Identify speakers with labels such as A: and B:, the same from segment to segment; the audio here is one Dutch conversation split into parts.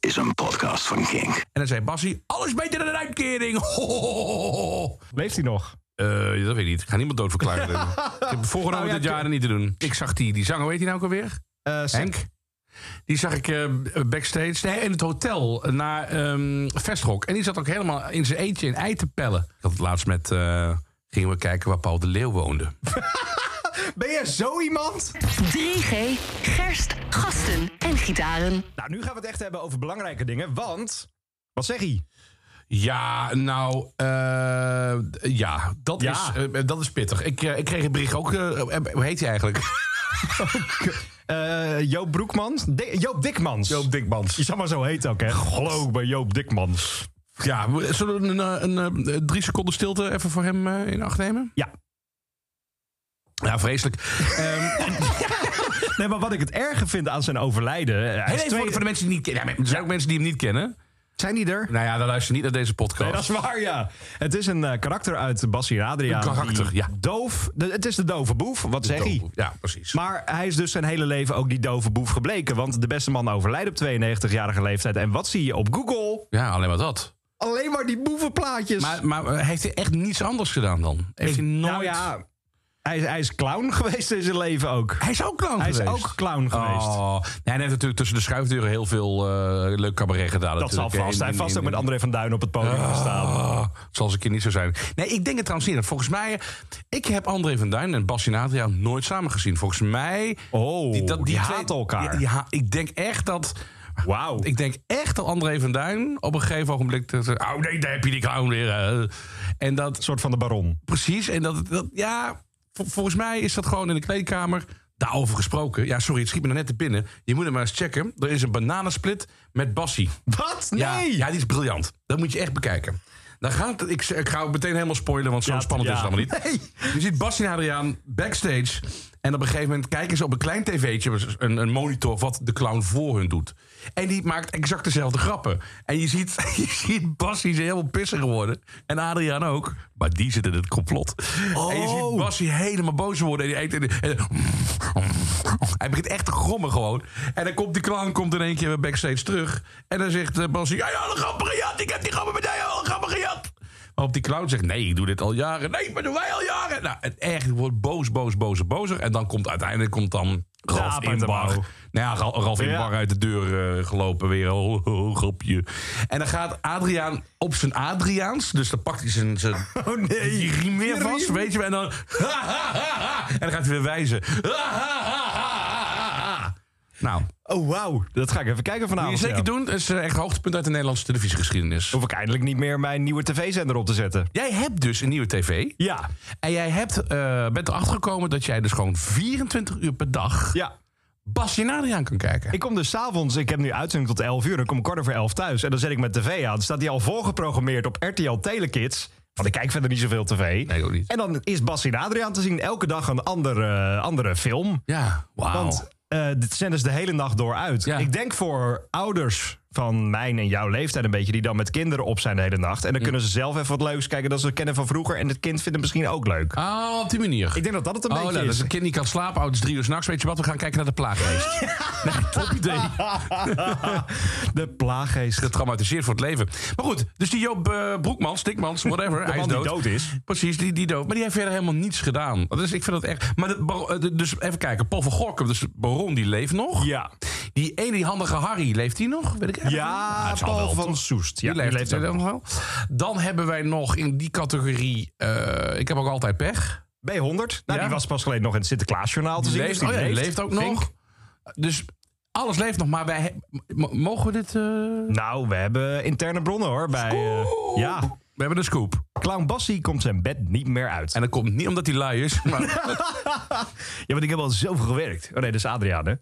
A: is een podcast van Kink.
B: En dan zei Bassie, alles beter dan een uitkering. Ho, ho, ho, ho, ho.
C: Leeft hij nog?
B: Eh, dat weet ik niet. Ik ga niemand doodverklaren. ik heb voorgenomen
C: Nou ja,
B: dit jaar niet te doen. Ik zag die, die zanger, weet hij nou ook alweer?
C: Eh, Sam-
B: Henk. Die zag ik eh, backstage nee, in het hotel na ehm Vestrok. En die zat ook helemaal in zijn eentje in ei te pellen. Ik had het laatst met... eh, gingen we kijken waar Paul de Leeuw woonde.
C: Ben je zo iemand?
D: 3G, gerst, gasten en gitaren.
C: Nou, nu gaan we het echt hebben over belangrijke dingen, want... Wat zeg je?
B: Ja, nou, eh, ja, dat,
C: Ja.
B: Is, eh, dat is pittig. Ik, eh, ik kreeg een bericht ook. eh, eh, hoe heet hij eigenlijk?
C: Eh, Joop Broekmans? Di- Joop Dikmans.
B: Dikmans.
C: Je zal maar zo heet ook, hè? Geloof bij Joop Dikmans.
B: Ja, we- zullen we een, eh, een, eh, drie seconden stilte even voor hem eh, in acht nemen?
C: Ja.
B: Ja, vreselijk.
C: Nee, maar wat ik het erge vind aan zijn overlijden... eh, Hij
B: Heel
C: is
B: even
C: twee-
B: voor, voor de mensen die het niet kennen. Ja, maar er zijn ook mensen die hem niet kennen.
C: Zijn die er?
B: Nou ja, dan luister niet naar deze podcast.
C: Nee, dat is waar, ja. Het is een eh, karakter uit Bassie en Adriaan.
B: Een karakter,
C: die
B: ja.
C: Doof. de- het is de dove boef, wat zeg je?
B: Ja, precies.
C: Maar hij is dus zijn hele leven ook die dove boef gebleken. Want de beste man overlijdt op 92-jarige leeftijd. En wat zie je op Google?
B: ja, alleen maar dat.
C: Alleen maar die boevenplaatjes.
B: Maar, maar eh, heeft hij echt niets anders gedaan dan? Heeft hij nooit...
C: Nou ja, hij, is- hij is clown geweest in zijn leven ook.
B: Hij is ook clown
C: Hij is
B: geweest.
C: ook clown geweest.
B: Oh. Nee, hij heeft natuurlijk tussen de schuifdeuren heel veel eh, leuk cabaret gedaan.
C: Dat zal
B: natuurlijk, hè,
C: vast.
B: in-
C: Hij heeft vast
B: in-
C: ook met André van Duin op het podium gestaan.
B: Ah, het zal eens een keer niet zo zijn. Nee, ik denk het trouwens niet. Volgens mij, eh, ik heb André van Duin en Bas Sinatria nooit samen gezien. Volgens mij...
C: Oh, die, dat,
B: twee-
C: haten elkaar.
B: die- die ha- ik denk echt dat...
C: Wauw.
B: Ik denk echt dat André van Duin op een gegeven ogenblik... dat ze- Oh nee, daar heb je die clown weer. eh. En dat,
C: Een soort van de baron.
B: Precies, en dat, dat ja, vol- volgens mij is dat gewoon in de kleedkamer daarover gesproken. Ja, sorry, het schiet me nog net te binnen. Je moet hem maar eens checken. Er is een bananensplit met Bassie.
C: Wat? Nee!
B: Ja, ja, die is briljant. Dat moet je echt bekijken. Dan gaat het, ik, ik ga het meteen helemaal spoilen, want zo
C: Ja,
B: spannend
C: ja.
B: is het allemaal niet. Je ziet Bassie en Adriaan backstage. En op een gegeven moment kijken ze op een klein tv'tje, dus een, een monitor, wat de clown voor hun doet. En die maakt exact dezelfde grappen. En je ziet, je ziet Bassie is helemaal pissig geworden. En Adriaan ook. Maar die zit in het complot. En je ziet Bassie helemaal boos worden. En die eet, en, en- hij begint echt te grommen gewoon. En dan komt die clown komt in één keer weer backstage terug. En dan zegt eh, Bassie, ja, ja, alle grappen gejat. Ik heb die grappen met jou, alle grappen gejat. Waarop die clown zegt: Nee, ik doe dit al jaren. Nee, maar doen wij al jaren. Nou, en echt, het wordt boos, boos, boos, bozer. En dan komt uiteindelijk komt dan Ralf
C: aap uit de
B: Inbar. Nou
C: mouw.
B: ja, Ra- Ralf
C: Ja.
B: Inbar uit de deur eh, gelopen weer. Oh, oh, oh, grapje. En dan gaat Adriaan op zijn Adriaans. Dus dan pakt hij zijn, zijn
C: Oh nee.
B: die riem weer
C: Die riem.
B: vast, weet je wel. En dan. En dan gaat hij weer wijzen. Nou,
C: Oh, wauw. Dat ga ik even kijken
B: moet je
C: vanavond.
B: zeker
C: ja.
B: doen. Dat is eh, echt hoogtepunt uit de Nederlandse televisiegeschiedenis.
C: Hoef ik eindelijk niet meer mijn nieuwe tv-zender op te zetten.
B: Jij hebt dus een nieuwe tv.
C: Ja.
B: En jij hebt, eh, bent erachter gekomen dat jij dus gewoon 24 uur per dag
C: Ja.
B: Basje en Adriaan kan kijken.
C: Ik kom dus s'avonds, ik heb nu uitzending tot 11 uur, dan kom ik kwart over 11 thuis. En dan zet ik mijn tv aan. Dan staat die al voorgeprogrammeerd op RTL Telekids. Want ik kijk verder niet zoveel tv.
B: Nee, ook niet.
C: En dan is Bas en Adriaan te zien elke dag een andere, andere film.
B: ja, wauw.
C: Want eh, dit zenden ze de hele nacht door uit.
B: Ja.
C: Ik denk voor ouders van mijn en jouw leeftijd een beetje... die dan met kinderen op zijn de hele nacht. En dan kunnen ze zelf even wat leuks kijken dat ze kennen van vroeger. En het kind vindt het misschien ook leuk.
B: Ah, op die manier.
C: Ik denk dat dat het een
B: Oh,
C: beetje
B: nou,
C: is.
B: dat een kind niet kan slapen, oud is drie uur s'nachts. Weet je wat, we gaan kijken naar de plaaggeest. Nee, top idee.
C: De plaaggeest.
B: Getraumatiseerd voor het leven. Maar goed, dus die Joop eh, Broekmans, Dikmans, whatever. hij
C: man
B: is
C: die
B: dood.
C: dood is.
B: Precies, die, die dood. Maar die heeft verder helemaal niets gedaan. Dus ik vind dat echt... Maar de bar- eh, de- dus even kijken, Paul van Gorkum, dus de baron, die leeft nog.
C: Ja.
B: Die ene, die handige Harry, leeft die nog? Weet ik eigenlijk niet.
C: Ja,
B: het zal
C: Paul
B: wel,
C: van
B: toch?
C: Soest. Ja,
B: Die leeft,
C: ook
B: dan nog wel. Dan hebben wij nog in die categorie... eh, ik heb ook altijd pech.
C: B100. Nou,
B: Ja.
C: die was pas geleden nog in het Sinterklaasjournaal te
B: Die
C: zien.
B: leeft,
C: dus die
B: oh ja, die leeft ook
C: Vink.
B: nog. Dus alles leeft nog, maar wij... he- m- mogen we dit... eh,
C: Nou, we hebben interne bronnen hoor. Bij, eh, ja,
B: We hebben een scoop.
C: Clown Bassie komt zijn bed niet meer uit.
B: En dat komt niet omdat hij lui is, maar...
C: ja, want ik heb al zoveel gewerkt. Oh nee, dat is Adriaan hè.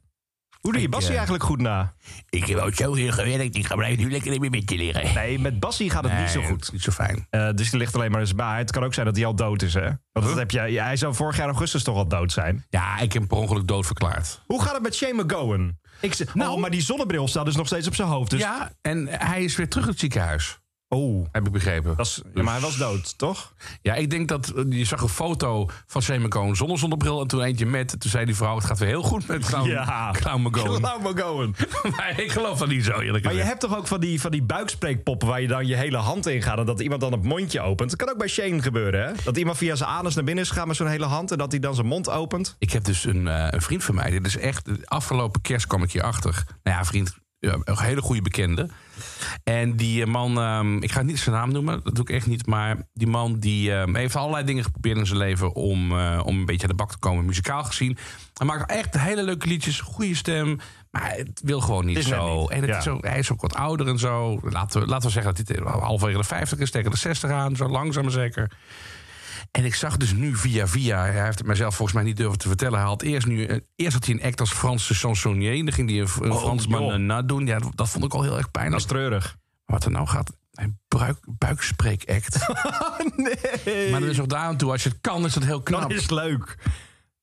C: Hoe doe je
B: Ik,
C: Bassie
B: eh,
C: eigenlijk goed na?
B: ik heb ook zo heel gewerkt, ik ga nu lekker in mijn bedje liggen.
C: Nee, met Bassie gaat het niet zo goed.
B: Niet zo fijn.
C: Eh, dus die ligt alleen maar in zijn baai. Het kan ook zijn dat hij al dood is hè. Want dat heb je, ja, hij zou vorig jaar augustus toch al dood zijn.
B: Ja, ik heb hem per ongeluk doodverklaard.
C: Hoe gaat het met Shane McGowan? Ik, nou,
B: Nou-
C: oh, maar die zonnebril staat dus nog steeds op zijn hoofd. Dus
B: ja, en hij is weer terug in het ziekenhuis.
C: Oh,
B: heb ik begrepen.
C: dat is, ja, maar hij was dood, toch?
B: Ja, ik denk dat eh, je zag een foto van Semicoon zonder zonnebril en toen eentje met. Toen zei die vrouw, het gaat weer heel goed met Clown,
C: Ja.
B: Clown McGowan.
C: Laat maar going.
B: maar ik geloof dat niet zo, eerlijk
C: Maar je
B: gezegd.
C: hebt toch ook van die, van die buikspreekpoppen waar je dan je hele hand in gaat en dat iemand dan het mondje opent. Dat kan ook bij Shane gebeuren, hè? Dat iemand via zijn anus naar binnen is gegaan met zo'n hele hand en dat hij dan zijn mond opent.
B: Ik heb dus een, eh, een vriend van mij. Dit is echt. de Afgelopen kerst kwam ik hier achter. Nou ja, vriend. ja, een hele goede bekende. En die eh, man, ehm, ik ga niet zijn naam noemen, dat doe ik echt niet. Maar die man die ehm, heeft allerlei dingen geprobeerd in zijn leven om, eh, om een beetje aan de bak te komen, muzikaal gezien. Hij maakt echt hele leuke liedjes, goede stem. Maar het wil gewoon niet
C: Het is net
B: zo.
C: niet,
B: En het
C: ja.
B: is ook, hij is ook wat ouder en zo. Laten we, laten we zeggen dat hij halverwege de 50 is, tegen de 60 aan, zo langzaam maar zeker. En ik zag dus nu via via, hij heeft het mijzelf volgens mij niet durven te vertellen. Hij had eerst, nu, eh, eerst had hij een act als Franse chansonnier. Dan ging hij een, F- een
C: Oh,
B: Fransman
C: joh.
B: eh, nadoen. Ja, dat- dat vond ik al heel erg
C: Dat
B: pijnlijk.
C: is treurig.
B: Wat er nou gaat, een buik, buikspreekact.
C: Nee.
B: maar dat is ook daar aan toe, als je het kan, is dat heel knap.
C: Dat is leuk.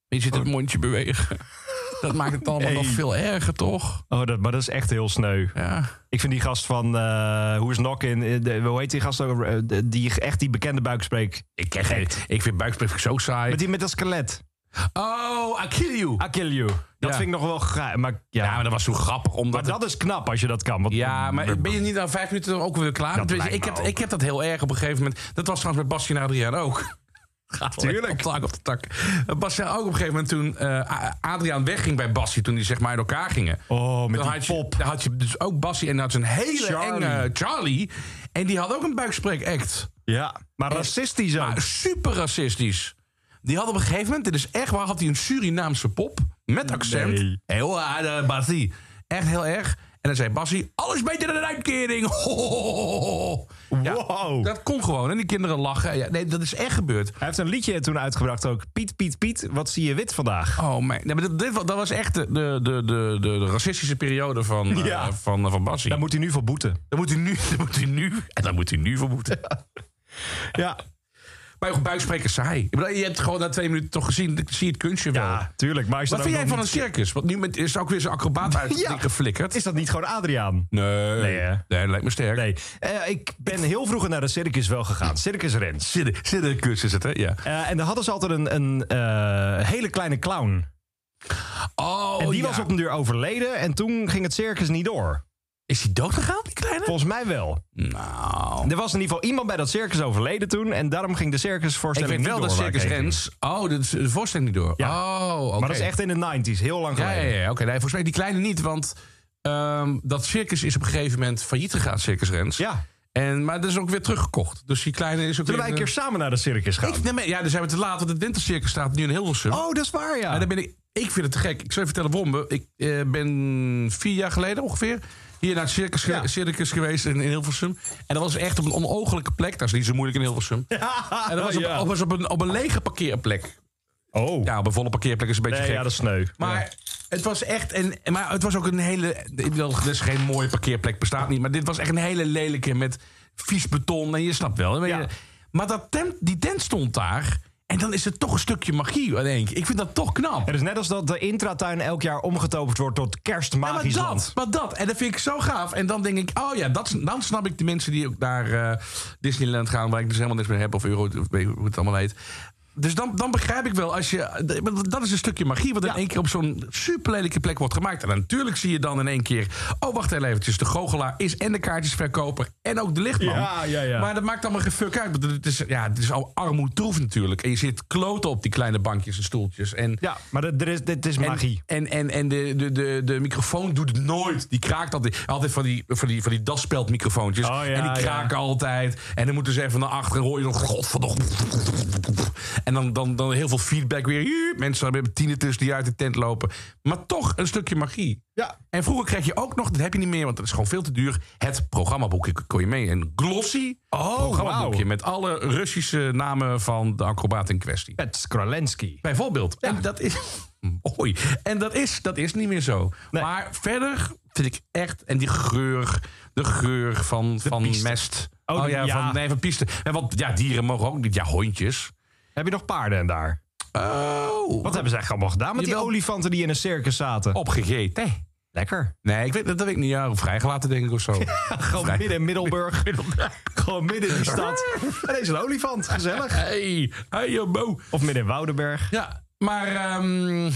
B: Je ziet het mondje bewegen. dat maakt het allemaal nog
C: Nee.
B: veel erger, toch?
C: Oh, dat, maar dat is echt heel sneu.
B: Ja.
C: Ik vind die gast van eh Hoe is Knockin', eh, de- hoe heet die gast ook? Eh, de- Die echt die bekende buikspreek.
B: Ik, ken geen- ik vind buikspreek zo saai.
C: Met die met dat skelet.
B: Oh, I kill you.
C: I kill you.
B: Ja.
C: Dat vind ik nog wel gaaf. Maar, ja.
B: Ja, maar dat was zo grappig. Omdat
C: maar dat is knap als je dat kan. Want
B: Ja, maar ben je niet na vijf minuten dan ook weer klaar?
C: Dat
B: Weet je,
C: lijkt
B: ik,
C: me
B: heb,
C: ook.
B: ik heb dat heel erg op een gegeven moment. Dat was trouwens met Basje en Adriaan ook. Gaat wel
C: Tuurlijk.
B: Op de tak, op de tak. Eh, Basje ook op een gegeven moment toen eh, A- Adriaan wegging bij Basje... toen die zeg maar uit elkaar gingen.
C: Oh, met
B: dan
C: die
B: had, je,
C: pop.
B: dan had je dus ook Basje en dan had ze een hele
C: Charlie.
B: enge Charlie. En die had ook een buikspreekact.
C: Ja, maar racistisch ook.
B: Maar super racistisch. Die had op een gegeven moment, dit is echt waar, had hij een Surinaamse pop met accent.
C: Nee.
B: Heel aardig, Basie. Echt heel erg. En dan zei Basie, alles beter dan een uitkering. Hohohoho. Ja,
C: Wow.
B: Dat kon gewoon. En die kinderen lachen. Ja, nee, dat is echt gebeurd.
C: Hij heeft een liedje toen uitgebracht ook. Piet, Piet, Piet, wat zie je wit vandaag?
B: Oh, mijn. Nee, maar dit, dit wa- dat was echt de, de, de, de, de racistische periode van, eh,
C: Ja.
B: van, van Basie.
C: Daar moet hij nu voor boeten.
B: Dan moet hij nu, dan moet hij nu, en dan moet hij nu vermoeden.
C: Ja,
B: Maar buikspreken is saai. Ik bedoel, je hebt gewoon na twee minuten toch gezien, ik zie het kunstje wel.
C: ja tuurlijk. Maar als je
B: Wat
C: dan
B: vind
C: ook
B: jij
C: nog
B: van een circus? Want nu met, is er ook weer zo'n acrobaat uit
C: Ja.
B: die geflikkerd.
C: niet- Is dat niet gewoon Adriaan?
B: Nee,
C: Nee, hè?
B: nee, dat lijkt me sterk.
C: Nee, Eh, ik ben heel vroeger naar de circus wel gegaan. Circus Rens.
B: Zit- Circus is het, hè? Ja.
C: Eh, en daar hadden ze altijd een, een eh, hele kleine clown.
B: Oh,
C: en die
B: ja.
C: was op een duur overleden en toen ging het circus niet door.
B: Is die doodgegaan, die kleine?
C: Volgens mij wel.
B: Nou...
C: Er was in ieder geval iemand bij dat circus overleden toen en daarom ging de
B: Ik
C: circusvoorstelling
B: weet
C: niet
B: wel
C: door.
B: dat
C: waar ik
B: Circus
C: heen ging.
B: Rens... Oh, dat is de voorstelling niet door.
C: Ja.
B: Oh, oké.
C: Maar dat is echt in de 90s, heel lang
B: Ja, ja,
C: geleden.
B: ja. Oké, nee, volgens mij die kleine niet, want... ehm, dat circus is op een gegeven moment failliet gegaan, Circus Rens.
C: Ja.
B: En, maar dat is ook weer teruggekocht. Dus die kleine is ook
C: Zullen wij
B: weer...
C: een keer samen naar de circus gaan?
B: Ik- nee, maar- ja, dan zijn we te laat, want het wintercircus staat nu in Hilversum.
C: Oh, dat is waar, ja.
B: Maar dan ben ik, ik vind het te gek. Ik zal je vertellen waarom. Ik eh, ben vier jaar geleden ongeveer hier naar het circus, ge-
C: Ja.
B: circus geweest in, in Hilversum. En dat was echt op een onogelijke plek. Dat is niet zo moeilijk in Hilversum. En dat was op,
C: Ja.
B: dat was op, een, op een lege parkeerplek.
C: Oh,
B: Ja, op een volle parkeerplek is een beetje
C: nee,
B: gek.
C: ja, dat is sneu.
B: Maar het was echt een. Maar het was ook een hele. ik bedoel, Dat is geen mooie parkeerplek, bestaat niet. Maar dit was echt een hele lelijke met vies beton. En je snapt wel. hè?
C: Ja.
B: Maar dat tent, die tent stond daar. En dan is het toch een stukje magie, denk ik. Ik vind dat toch knap.
C: Het is net als dat de intratuin elk jaar omgetoverd wordt tot
B: Ja, maar
C: kerstmagisch
B: dat,
C: land.
B: maar dat. En dat vind ik zo gaaf. En dan denk ik, oh ja, dat, dan snap ik de mensen die ook naar eh, Disneyland gaan... waar ik dus helemaal niks mee heb, of Euro, of weet je hoe het allemaal heet. Dus dan, dan begrijp ik wel, als je, d- dat is een stukje magie... wat in één keer op zo'n superlelijke plek wordt gemaakt. En dan natuurlijk zie je dan in één keer... oh, wacht heel eventjes, de goochelaar is en de kaartjesverkoper... en ook de lichtman.
C: Ja, ja, ja.
B: Maar dat maakt allemaal geen fuck uit. want Het is, ja, het is al armoedtroef natuurlijk. En je zit kloten op die kleine bankjes en stoeltjes. En
C: Ja, maar dat- er is, dit is magie.
B: en, en, en de, de, de, de microfoon doet het nooit. Die kraakt altijd. Altijd van die, van die, van die daspeldmicrofoontjes.
C: Oh, ja,
B: en die kraken altijd. En dan moeten ze even naar achteren. Hoor je nog godverdomme. En dan, dan, dan heel veel feedback weer. Juup, Mensen hebben tienen tussen die uit de tent lopen. Maar toch een stukje magie.
C: Ja.
B: En vroeger kreeg je ook nog, dat heb je niet meer, want dat is gewoon veel te duur. Het programmaboekje kon je mee. Een glossy programmaboekje
C: Oh, wauw.
B: met alle Russische namen van de acrobaat in kwestie.
C: Met Skralenski.
B: Bijvoorbeeld. En dat is. Mooi. En dat is, dat is niet meer zo.
C: Mm. Nee.
B: Maar verder vind ik echt. En die geur. De geur van, van
C: piste.
B: mest.
C: Oh,
B: Oh,
C: de-
B: ja,
C: ja.
B: Van, nee, van piste. En want ja, dieren mogen ook niet. Ja, hondjes.
C: Heb je nog paarden en daar?
B: Oh.
C: Wat hebben ze eigenlijk allemaal gedaan met die
B: Jawel. Oh,
C: olifanten die in een circus zaten?
B: Opgegeten.
C: Lekker.
B: Nee, ik weet, dat weet ik niet. Ja, vrijgelaten denk ik of zo.
C: Gewoon
B: Vrij-
C: midden in Middelburg. Gewoon midden in die stad. En deze een olifant, gezellig.
B: hey, hey, yo, Bo.
C: Of midden in Woudenberg.
B: Ja, maar ehm,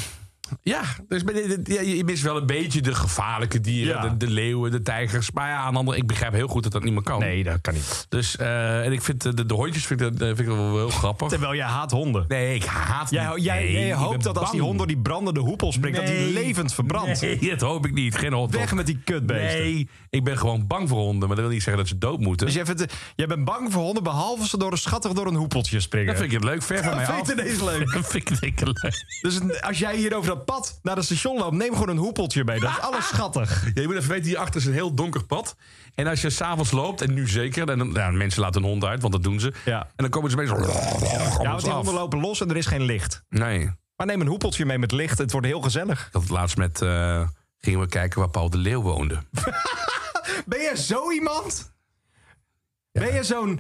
B: ja, dus ben je, ja, je mist wel een beetje de gevaarlijke dieren.
C: Ja.
B: De, de leeuwen, de tijgers. Maar ja, aan de andere, ik begrijp heel goed dat dat niet meer kan.
C: Nee, dat kan niet.
B: Dus, eh, en ik vind eh, de, de hondjes vind ik, dat- eh, vind ik dat wel heel grappig.
C: Terwijl jij haat honden.
B: Nee, ik haat
C: Jij,
B: die-
C: jij,
B: nee,
C: jij
B: ik ben
C: hoopt dat als die
B: bang.
C: hond door die brandende hoepel springt, dat die
B: Nee.
C: levend verbrandt.
B: Nee, dat hoop ik niet. Geen hond.
C: Weg met die kutbeesten.
B: Nee, ik ben gewoon bang voor honden. Maar dat wil niet zeggen dat ze dood moeten.
C: Dus jij, vindt, eh, jij bent bang voor honden, behalve ze door een schattig door een hoepeltje springen.
B: dat vind ik het leuk. Ver van mij
C: Dat
B: af.
C: vind ik ineens leuk.
B: Dat vind ik het leuk.
C: Dus een- als jij hier over dat pad naar het station loopt, neem gewoon een hoepeltje mee. Dat is alles schattig.
B: Ja, je moet even weten, hierachter is een heel donker pad. En als je s'avonds loopt, en nu zeker... En dan, nou, mensen laten een hond uit, want dat doen ze.
C: Ja.
B: En dan komen ze opeens...
C: Ja,
B: Ja,
C: want die honden lopen los en er is geen licht.
B: Nee,
C: Maar neem een hoepeltje mee met licht. Het wordt heel gezellig.
B: ik had het laatst met... eh, gingen we kijken waar Paul de Leeuw woonde.
C: Ben jij zo iemand? Ben je zo'n...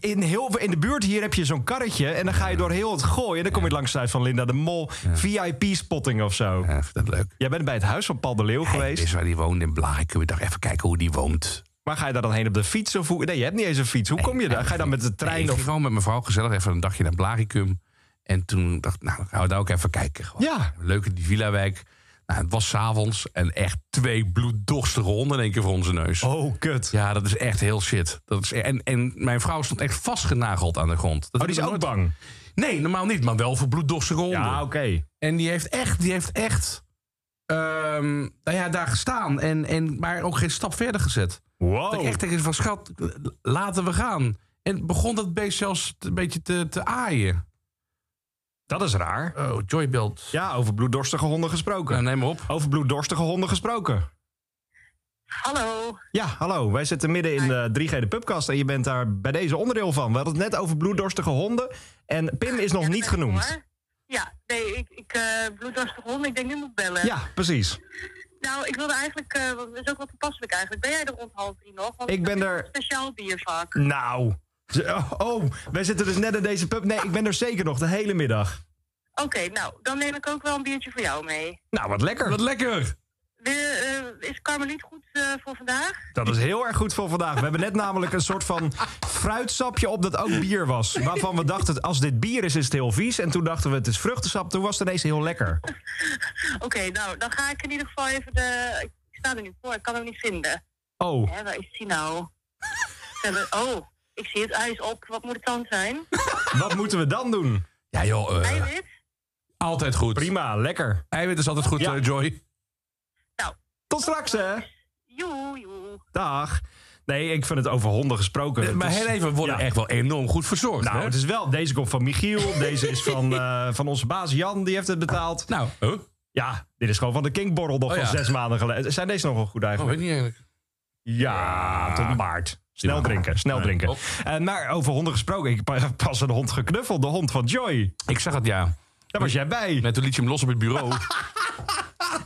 C: In, heel, in de buurt hier heb je zo'n karretje en dan ga je door heel het gooi. En dan kom je langs het huis van Linda de Mol. VIP-spotting of zo.
B: Ja, ik vind dat leuk.
C: Jij bent bij het huis van Paul de Leeuw
B: Hij
C: geweest.
B: wist waar die woonde in Blarikum. Ik dacht, even kijken hoe die woont.
C: Maar ga je daar dan heen op de fiets? Of hoe, nee, je hebt niet eens een fiets. Hoe kom je daar? Ga je dan met de
B: Nee,
C: trein?
B: ik ging
C: of,
B: gewoon met mijn vrouw gezellig even een dagje naar Blaricum. En toen dacht ik, nou, gaan we daar ook even kijken. Gewoon.
C: Ja.
B: Leuke die villa-wijk. Nou, het was s'avonds en echt twee bloeddorstige honden in één keer voor onze neus.
C: oh, kut.
B: Ja, dat is echt heel shit. Dat is, e- en, en mijn vrouw stond echt vastgenageld aan de grond. Dat
C: Oh, die is
B: heb ik
C: ook
B: nooit-
C: bang.
B: Nee, normaal niet, maar wel voor bloeddorstige honden.
C: Ja, oké.
B: En die heeft echt, die heeft echt ehm, nou ja, daar gestaan. En, en, maar ook geen stap verder gezet. Dat ik
C: Wow.
B: echt tegen ze van, schat, laten we gaan. En begon dat beest zelfs een beetje te, te aaien.
C: Dat is raar.
B: Oh, Joybelt.
C: Ja, over bloeddorstige honden gesproken.
B: Nou, neem maar op.
C: Over bloeddorstige honden gesproken.
D: Hallo.
C: Ja, hallo. Wij zitten midden in de 3G de Pubcast en je bent daar bij deze onderdeel van. We hadden het net over bloeddorstige honden en Pim is nog
A: Ja,
C: niet
A: dat ben ik
C: genoemd.
A: hoor. Ja, nee, ik, ik eh bloeddorstig hond, ik denk nu moet ik bellen.
C: Ja, precies.
A: Nou, ik wilde eigenlijk, eh, want het is ook wel toepasselijk eigenlijk. Ben jij er rond half drie nog? Want
C: Ik ben
A: heb
C: er-
A: Een speciaal biervak.
C: Nou. Ze- oh, Oh, wij zitten dus net in deze pub. Nee, ik ben er zeker nog de hele middag.
A: Oké, nou, dan neem ik ook wel een biertje voor jou mee.
C: Nou, wat
B: Wat
C: lekker.
B: lekker.
A: Wil je, eh, is Carmeliet goed eh, voor vandaag?
C: Dat is heel erg goed voor vandaag. We hebben net namelijk een soort van fruitsapje op dat ook bier was. Waarvan we dachten, als dit bier is, is het heel vies. En toen dachten we, het is vruchtensap. Toen was het ineens heel lekker.
A: Oké, nou, dan ga ik in ieder geval even de... Ik sta er nu voor, ik kan hem niet vinden.
C: Oh,
A: Hè, waar is die nou? Zijn we- Oh, ik zie het, hij is op. Wat moet het dan zijn?
C: wat moeten we dan doen?
B: Ja joh, eh,
A: Eiwit?
B: altijd goed.
C: Prima, lekker.
B: Eiwit is altijd goed,
C: Ja.
B: eh, Joy.
A: Nou,
C: Tot straks, hè.
A: joe, joe.
C: Dag. Nee, ik vind het over honden gesproken. Het
B: Maar
C: is-
B: heel even, we worden
C: Ja.
B: echt wel enorm goed verzorgd.
C: Nou,
B: hè?
C: het is wel. Deze komt van Michiel. Deze is van, eh, van onze baas Jan. Die heeft het betaald.
B: nou huh? oh,
C: Ja, dit is gewoon van de Kinkborrel nog
B: Oh,
C: van
B: ja.
C: zes maanden geleden. Zijn deze nog wel goed eigenlijk?
B: weet ik niet eigenlijk.
C: Ja, tot maart. Snel drinken, snel drinken.
B: Oh.
C: Eh, maar over honden gesproken. Ik heb pa- pas een hond geknuffeld. De hond van Joy.
B: Ik zag het, ja.
C: Daar was jij bij.
B: Net toen liet je hem los op het bureau.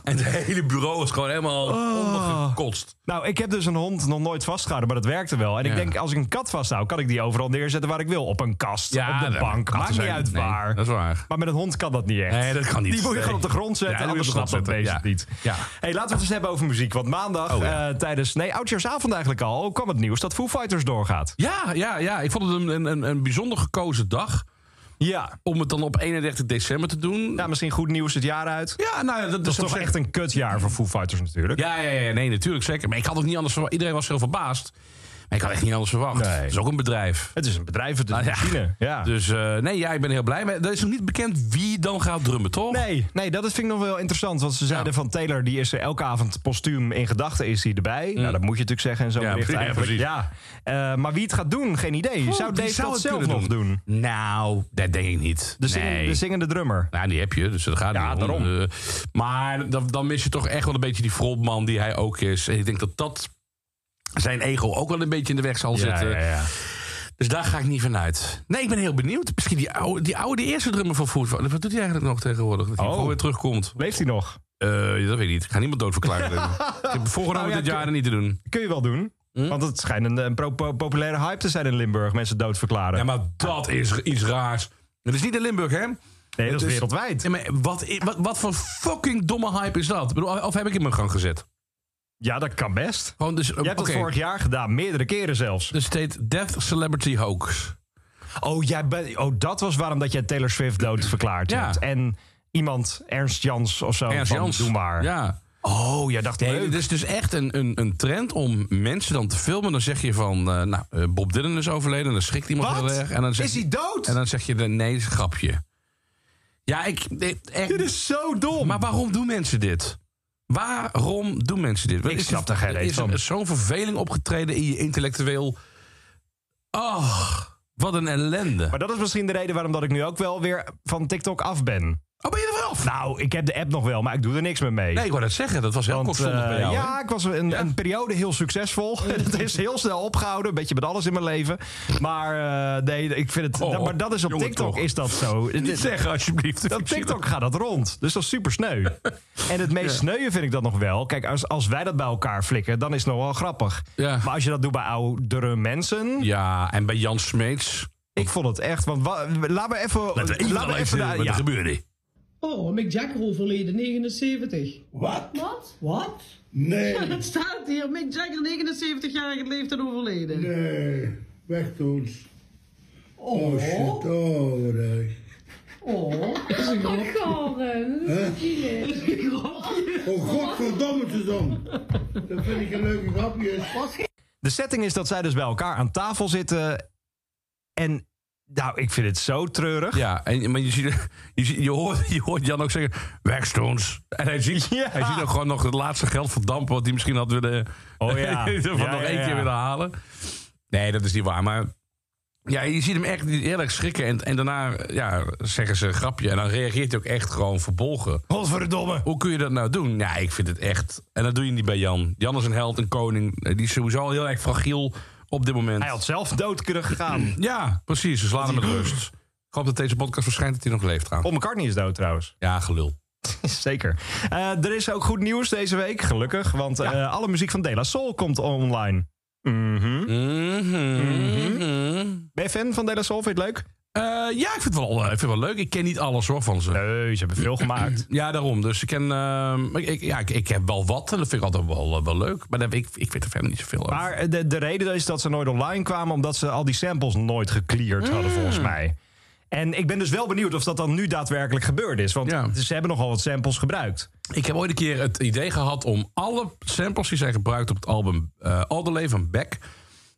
B: en het hele bureau is gewoon helemaal
C: Oh.
B: ondergekotst.
C: Nou, ik heb dus een hond nog nooit vastgehouden, maar dat werkte wel. En
B: Ja.
C: ik denk, als ik een kat vasthoud, kan ik die overal neerzetten waar ik wil. Op een kast, op de
B: dat-
C: bank.
B: dat
C: Maakt
B: is
C: niet
B: een-
C: uit
B: nee,
C: waar.
B: Dat is waar.
C: Maar met een hond kan dat niet echt.
B: Nee, dat kan niet.
C: Die moet je
B: Nee.
C: gewoon op de grond zetten,
B: Ja, die moet je
C: anders
B: op de grond
C: snapt dat beest
B: zetten,
C: het niet.
B: ja. Ja.
C: Hey, laten we het eens hebben over muziek. Want maandag
B: Oh, ja.
C: eh, tijdens, nee, oudjaarsavond eigenlijk al, kwam het nieuws dat Foo Fighters doorgaat.
B: Ja, ja, ja. Ik vond het een, een- een, een bijzonder gekozen dag.
C: Ja.
B: Om het dan op 31 december te doen.
C: Nou, misschien goed nieuws het jaar uit.
B: Ja, nou ja, dat
C: Dat
B: is
C: is toch echt een kutjaar voor Foo Fighters natuurlijk.
B: Ja, ja, ja, nee, natuurlijk, zeker. Maar ik had ook niet anders verwacht. Iedereen was heel verbaasd. Maar ik had echt niet anders verwacht.
C: Nee.
B: Het is ook een bedrijf.
C: Het is een bedrijf, het is
B: Nou,
C: een
B: ja.
C: machine. Ja.
B: Dus eh, nee, ja, ik ben heel blij. Maar er is nog niet bekend wie dan gaat drummen, toch?
C: Nee, nee, dat vind ik nog wel interessant. Want ze zeiden van Taylor, die is er elke avond postuum in gedachten is hij erbij. Nou, dat moet je natuurlijk zeggen en zo.
B: Ja,
C: bericht
B: precies,
C: eigenlijk.
B: precies.
C: Ja. Eh, maar wie het gaat doen, geen idee. zou
B: Oh, die
C: Dave
B: zou
C: dat
B: het
C: zelf
B: kunnen
C: nog doen?
B: Nou, dat denk ik niet.
C: De, zingende,
B: nee.
C: de zingende drummer.
B: Nou, die heb je, dus dat gaat
C: Ja,
B: niet. om.
C: daarom.
B: Eh, maar dan, dan mis je toch echt wel een beetje die frontman die hij ook is. En ik denk dat dat zijn ego ook wel een beetje in de weg zal zitten. Dus daar ga ik niet van uit. Nee, ik ben heel benieuwd. Misschien die oude, die oude eerste drummer van Food Fight- Wat doet hij eigenlijk nog tegenwoordig? Dat hij
C: Oh.
B: gewoon weer terugkomt.
C: Leeft hij nog?
B: Eh, dat weet ik niet. Ik ga niemand doodverklaren. ik heb voorgenomen
C: Nou ja,
B: dit jaar
C: kun-
B: er niet te doen.
C: Kun je wel doen.
B: Hm?
C: Want het schijnt een, een pro- po- populaire hype te zijn in Limburg. Mensen doodverklaren.
B: Ja, maar dat is iets raars. Het is niet in Limburg, hè?
C: Nee, dat
B: Het
C: is
B: is-
C: wereldwijd.
B: Ja, maar wat, i- wat, wat voor fucking domme hype is dat? Ik bedoel, of heb ik in mijn gang gezet?
C: Ja, dat kan best.
B: Gewoon dus,
C: Je hebt
B: oké.
C: dat vorig jaar gedaan, meerdere keren zelfs.
B: Dus het heet Death Celebrity Hoax.
C: Oh, jij bent- oh dat was waarom dat jij Taylor Swift dood verklaard
B: Ja.
C: hebt. En iemand, Ernst Jans of zo,
B: Ernst
C: van
B: Jans.
C: doe maar.
B: Ja.
C: Oh, jij dacht
B: Nee,
C: leuk.
B: het is dus echt een, een, een trend om mensen dan te filmen. Dan zeg je van, eh, nou, eh, Bob Dylan is overleden. En dan schrikt iemand
C: Wat?
B: heel erg. En dan zeg
C: Is
B: je-
C: hij dood?
B: En dan zeg je, nee, is een grapje. Ja, ik... nee, echt.
C: Dit is zo dom.
B: Maar waarom doen mensen dit? Waarom doen mensen dit?
C: Ik snap daar geen reet
B: Is er
C: van.
B: zo'n verveling opgetreden in je intellectueel... Ach, wat een ellende.
C: Maar dat is misschien de reden waarom dat ik nu ook wel weer van TikTok af ben.
B: Oh, ben je er vanaf?
C: Nou, ik heb de app nog wel, maar ik doe er niks meer mee.
B: Nee, ik wou dat zeggen. Dat was heel
C: Want,
B: kortstondig
C: eh,
B: bij jou. hè?
C: ja, ik was een,
B: Ja. Oh.
C: een periode heel succesvol. Het is heel snel opgehouden. Een beetje met alles in mijn leven. Maar eh, nee, ik vind het.
B: Oh,
C: dat- maar dat is op
B: jongen,
C: TikTok
B: toch.
C: is dat zo.
B: Niet zeggen, alsjeblieft.
C: Op TikTok gaat dat rond. Dus dat is super sneu. en het meest sneuien vind ik dat nog wel. Kijk, als, als wij dat bij elkaar flikken, dan is het nog wel grappig.
B: Ja.
C: Maar als je dat doet bij oudere mensen.
B: Ja, en bij Jan Smeets.
C: Ik vond het echt. Want wa- laat me even. laat me even. daar-
B: wat er
C: ja.
B: gebeurde.
E: Oh, Mick Jagger overleden, 79.
F: Wat?
E: Wat? Wat?
F: Nee,
E: Het staat hier, Mick Jagger, 79 jaar leeftijd overleden.
F: nee, weg doen.
E: Oh,
F: Oh shit, oh wat erg.
E: oh, dat is een grap.
F: Oh godverdomme dan. Dat vind ik een leuke grapje.
C: De setting is dat zij dus bij elkaar aan tafel zitten. En nou, ik vind het zo treurig.
B: Ja, en, maar je, ziet, je, ziet, je, hoort, je hoort Jan ook zeggen, weg Stones. En hij ziet,
C: Ja.
B: hij ziet ook gewoon nog het laatste geld verdampen... wat hij misschien had willen...
C: Oh ja.
B: van
C: Ja,
B: nog
C: ja,
B: één
C: ja.
B: keer willen halen. Nee, dat is niet waar, maar... Ja, je ziet hem echt heel erg schrikken. En, en daarna ja, zeggen ze een grapje. En dan reageert hij ook echt gewoon verbolgen.
C: Godverdomme.
B: Hoe kun je dat nou doen? Ja, ik vind het echt... En dat doe je niet bij Jan. Jan is een held, een koning. Eh, Die is sowieso al heel erg fragiel op dit moment.
C: Hij had zelf dood kunnen gegaan.
B: Ja, precies. Dus laat hem met rust. Ik hoop dat deze podcast verschijnt dat hij nog leeft trouwens.
C: Paul McCartney is dood trouwens.
B: Ja, gelul.
C: Zeker. Eh, er is ook goed nieuws deze week, gelukkig. Want eh, alle muziek van De La Soul komt online. Mhm. Ben je fan van De La Soul? Vind je het leuk?
B: Eh, ja, ik vind, het wel, eh, ik vind het wel leuk. Ik ken niet alles hoor van ze.
C: Nee, ze hebben veel gemaakt.
B: Ja, daarom. Dus ik ken. ehm, ik, ik- ja, ik, ik heb wel wat en dat vind ik altijd wel, eh, wel leuk. Maar daar, ik, ik weet er verder niet zoveel over.
C: Maar eh, de, de reden is dat ze nooit online kwamen... omdat ze al die samples nooit gecleared hadden, volgens mij. En ik ben dus wel benieuwd of dat dan nu daadwerkelijk gebeurd is. Want
B: Ja.
C: ze hebben nogal wat samples gebruikt.
B: Ik heb ooit een keer het idee gehad om alle samples die zijn gebruikt op het album eh Alderley van Beck.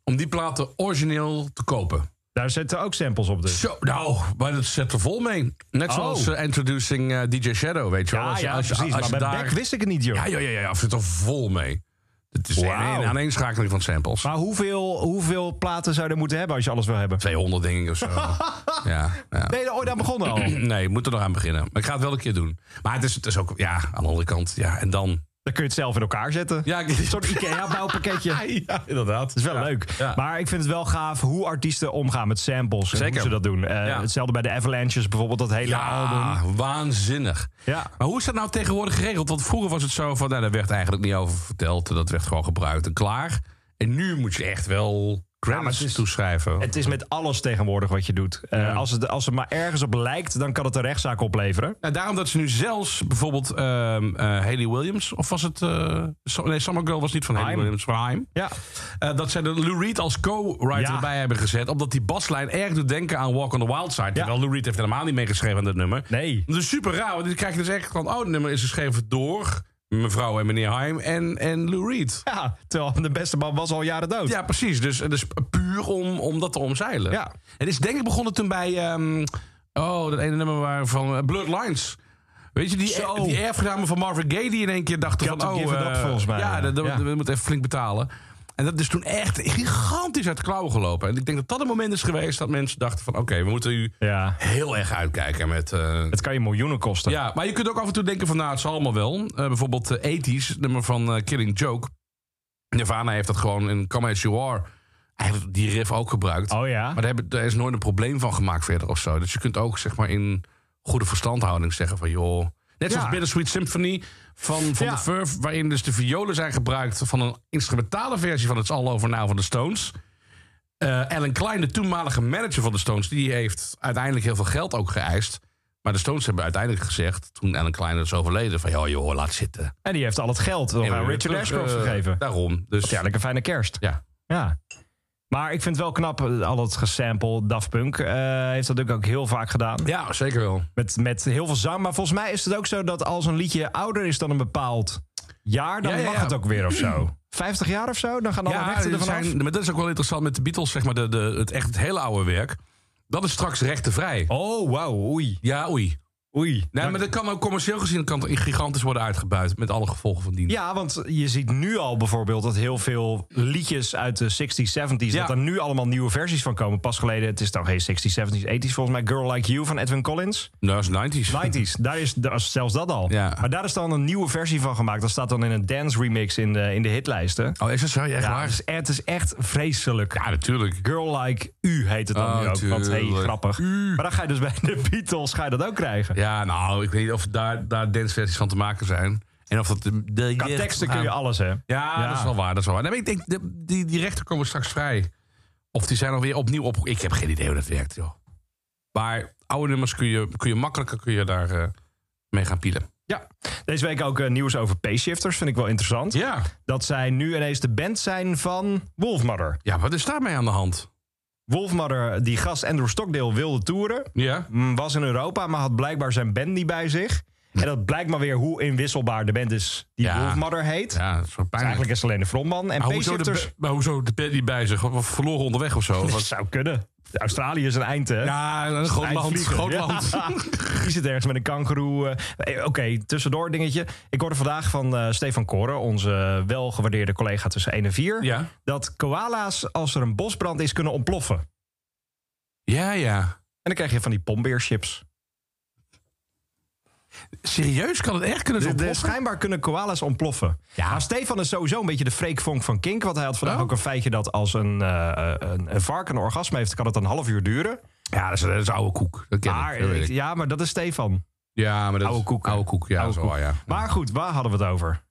B: om die platen origineel te kopen.
C: Daar zitten ook samples op dus.
B: Zo, nou, maar dat zet er vol mee. Net
C: Oh.
B: zoals eh, Introducing eh, DJ Shadow, weet je wel.
C: Ja,
B: Als je-
C: Ah, ja,
B: als je-
C: precies.
B: als je
C: maar bij
B: daar-
C: Beck wist ik het niet, joh.
B: Ja, ja, ja, ja. Of zit er vol mee. Het is
C: Wauw.
B: een, een aaneenschakeling van samples.
C: Maar hoeveel, hoeveel platen zou je er moeten hebben als je alles wil hebben?
B: 200 dingen of zo. ja, ja.
C: Ben je er ooit aan begonnen al?
B: Nee, ik moet er nog aan beginnen. Maar ik ga het wel een keer doen. Maar het is, het is ook, ja, aan de andere kant. Ja, en dan.
C: Dan kun je het zelf in elkaar zetten.
B: Ja, ik-
C: Een soort IKEA-bouwpakketje.
B: ja inderdaad.
C: Dat is wel leuk.
B: Ja.
C: Maar ik vind het wel gaaf hoe artiesten omgaan met samples. En
B: Zeker.
C: hoe ze dat doen. Eh,
B: Ja.
C: Hetzelfde bij de Avalanches bijvoorbeeld, dat hele album.
B: Ja, waanzinnig.
C: Ja.
B: Maar hoe is dat nou tegenwoordig geregeld? Want vroeger was het zo van, nou, daar werd eigenlijk niet over verteld. Dat werd gewoon gebruikt en klaar. En nu moet je echt wel credits
C: het is-
B: toeschrijven.
C: Het is met alles tegenwoordig wat je doet. Eh,
B: Ja.
C: als, het, als het maar ergens op lijkt, dan kan het een rechtszaak opleveren.
B: Nou, daarom dat ze nu zelfs bijvoorbeeld ehm eh, Hayley Williams... of was het... eh, Sa- nee, Summer Girl was niet van Hayley
C: Haim.
B: Williams, van Haim.
C: Ja.
B: Eh, dat zij de Lou Reed als co-writer
C: Ja.
B: erbij hebben gezet. Omdat die baslijn erg doet denken aan Walk on the Wild Side. Terwijl Lou Reed heeft helemaal niet meegeschreven aan dat nummer.
C: Nee.
B: Dat is super raar. Want dan krijg je dus echt van... Oh, het nummer is geschreven door mevrouw en meneer Haim en, en Lou Reed.
C: Ja, terwijl de beste man was al jaren dood.
B: Ja, precies. Dus het is puur om, om dat te omzeilen.
C: Ja.
B: Het is denk ik begonnen toen bij... ehm, oh, dat ene nummer waar van eh, Blurred Lines. Weet je, die, eh,
C: Zo.
B: die erfgenamen van Marvin Gaye die in één keer dachten
C: Got
B: van...
C: to
B: oh,
C: give it
B: eh,
C: up, volgens mij.
B: Ja, dat, dat-
C: Ja.
B: we moeten even flink betalen. En dat is toen echt gigantisch uit de klauwen gelopen. En ik denk dat dat een moment is geweest dat mensen dachten van... oké, we moeten u
C: Ja.
B: heel erg uitkijken met... eh,
C: Het kan je miljoenen kosten.
B: ja, maar je kunt ook af en toe denken van, nou, het zal allemaal wel. Eh, bijvoorbeeld eh, 80s, het nummer van eh, Killing Joke. Nirvana heeft dat gewoon in Come As You Are... eigenlijk die riff ook gebruikt.
C: Oh ja.
B: Maar daar, hebben- daar is nooit een probleem van gemaakt verder of zo. Dus je kunt ook, zeg maar, in goede verstandhouding zeggen van... joh, net zoals
C: Ja.
B: Bittersweet Symphony van, van
C: Ja.
B: de Verve... waarin dus de violen zijn gebruikt van een instrumentale versie... van It's All Over Now van de Stones... Eh Alan Klein, de toenmalige manager van de Stones... die heeft uiteindelijk heel veel geld ook geëist... Maar de Stones hebben uiteindelijk gezegd, toen Alan Klein is overleden, van joh, joh, laat zitten.
C: En die heeft al het geld nog
B: En
C: aan
B: weer
C: Richard
B: terug,
C: Ashcroft
B: eh,
C: gegeven.
B: Daarom. Dus
C: Ja,
B: ja,
C: lekker fijne kerst.
B: ja.
C: Ja. Maar ik vind het wel knap, eh, al dat gesample. Daft Punk eh, heeft dat natuurlijk ook heel vaak gedaan.
B: zeker wel.
C: Met, met heel veel zang. Maar volgens mij is het ook zo dat als een liedje ouder is dan een bepaald jaar, dan
B: Ja, ja,
C: mag
B: ja.
C: het ook weer of zo. 50 jaar of zo, dan gaan alle
B: Ja,
C: rechten
B: er
C: ervan af.
B: zijn, maar dat is ook wel interessant met de Beatles, zeg maar, de, de, het echt het hele oude werk. Dat is straks rechtenvrij.
C: Oh, wauw, oei.
B: Ja, oei.
C: Oei.
B: Nee, maar dat kan ook commercieel gezien kan het gigantisch worden uitgebuit. Met alle gevolgen van dien.
C: Ja, want je ziet nu al bijvoorbeeld dat heel veel liedjes uit de 60s, 70s, dat
B: Ja.
C: er nu allemaal nieuwe versies van komen. Pas geleden, het is dan geen 60s, 70s, 80s, volgens mij Girl Like You van Edwin Collins.
B: Nou, dat is 90's.
C: 90s, daar is, daar is zelfs dat al.
B: Ja.
C: Maar daar is dan een nieuwe versie van gemaakt. Dat staat dan in een dance remix in de, in de hitlijsten.
B: Oh, is dat zo? Ja, Echt
C: Ja, dus-
B: waar?
C: het, is, het is echt vreselijk.
B: Ja, natuurlijk.
C: Girl Like U heet het dan
B: Oh,
C: nu ook. Want hey,
B: tuurlijk.
C: grappig.
B: U.
C: Maar dan ga je dus bij de Beatles ga je dat ook krijgen.
B: Ja, nou, ik weet niet of daar, daar danceversies van te maken zijn. En of dat de... de
C: Qua teksten kun je alles, hè?
B: Ja,
C: Ja.
B: dat is wel waar. Dat is wel waar. Nee, maar ik denk, de- die, die rechten komen straks vrij. Of die zijn alweer opnieuw op. Ik heb geen idee hoe dat werkt, joh. Maar oude nummers kun je, kun je makkelijker kun je daar eh, mee gaan pielen.
C: Ja. Deze week ook eh, nieuws over payshifters. Vind ik wel interessant.
B: Ja.
C: Dat zij nu ineens de band zijn van Wolfmother.
B: Ja, wat is daarmee aan de hand?
C: Wolfmother, die gast Andrew Stockdale, wilde toeren.
B: Ja.
C: mm, Was in Europa, maar had blijkbaar zijn band niet bij zich. En dat blijkt maar weer hoe inwisselbaar de band is die
B: Hm. Ja.
C: Wolfmother heet.
B: Ja, dat is wel
C: Dus
B: pijnlijk.
C: eigenlijk is het alleen de frontman. En
B: Maar hoezo, de,
C: payshifters...
B: ba- maar hoezo de band niet bij zich? Of verloren onderweg of zo? Of
C: Dat
B: wat?
C: zou kunnen. Australië is een eind, hè?
B: Ja, een groot land.
C: Eindvlieger.
B: Groot
C: Ja.
B: land.
C: Die zit ergens met een kangeroe. eh. Oké, tussendoor dingetje. Ik hoorde vandaag van eh, Stefan Koren, onze eh, welgewaardeerde collega tussen 1 en 4...
B: Ja.
C: dat koala's, als er een bosbrand is, kunnen ontploffen. En
B: Ja, ja.
C: dan krijg je van die pombeerchips.
B: Serieus? Kan het echt kunnen
C: De,
B: zo
C: de,
B: ontploffen?
C: schijnbaar kunnen koala's ontploffen.
B: Ja.
C: Maar Stefan is sowieso een beetje de freekvonk van Kink. Want hij had vandaag
B: Oh.
C: ook een feitje dat als een, eh, een, een varken een orgasme heeft... kan het een half uur duren.
B: Ja, dat is, dat is oude koek. Dat ken
C: Maar,
B: ik. Dat weet ik.
C: ja, maar dat is Stefan.
B: Ja, maar dat
C: Oude
B: is-
C: koek, hè?
B: Oude koek, ja.
C: Oude
B: zo, ja.
C: Maar goed, waar hadden we het over?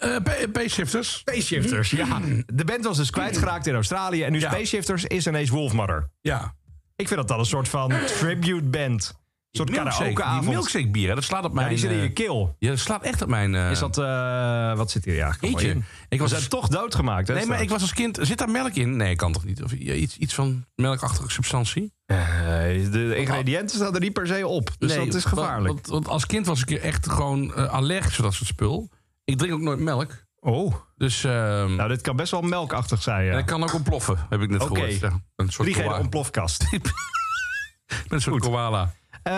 B: Eh, pa- Payshifters.
C: Spaceshifters, ja. De band was dus kwijtgeraakt in Australië. En nu
B: Ja.
C: Spaceshifters is ineens Wolfmother.
B: Ja.
C: Ik vind dat dan een soort van tribute band. Een soort
B: Die
C: karaokeavond.
B: milkshake bier, hè, dat slaat op
C: Ja,
B: mijn...
C: die zit in
B: eh,
C: je keel.
B: ja, dat slaat echt op mijn... eh,
C: Is dat, eh, wat zit hier eigenlijk allemaal
B: Jeetje.
C: in?
B: Ik
C: We
B: was...
C: zijn toch doodgemaakt, hè?
B: Nee, maar ik was als kind... Zit daar melk in? Nee, kan toch niet? Of i- iets, iets van melkachtige substantie?
C: Eh, de ingrediënten staan er niet per se op. Dus
B: nee,
C: dat is gevaarlijk.
B: Want, want- want als kind was ik echt gewoon eh, allergisch voor dat soort spul. Ik drink ook nooit melk.
C: Oh,
B: Dus... ehm,
C: nou dit kan best wel melkachtig zijn,
B: en
C: ja.
B: dat kan ook ontploffen, heb ik net
C: Oké.
B: gehoord. Ja, een soort
C: Drie gele
B: koala.
C: ontplofkast.
B: Met een soort koala.
C: Eh,